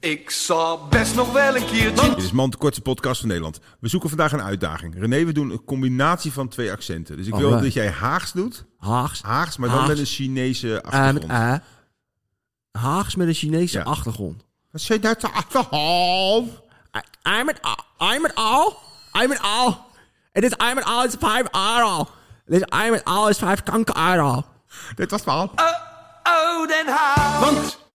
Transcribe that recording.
Ik zal best nog wel een keertje. Dit is Man, de kortste podcast van Nederland. We zoeken vandaag een uitdaging. René, we doen een combinatie van twee accenten. Dus ik wil Alright. dat jij Haags doet. Haags. Haags, maar dan Haags. met een Chinese Eh, met achtergrond. eh. Haags met een Chinese Ja. achtergrond. Wat zit daar te achterhoofd? I'm an I'm an all. I'm an all. En dit I'm an all is vijf aral. Dit I'm an all is vijf kanker aral. Dit was het verhaal. Oh, Den Haag. Want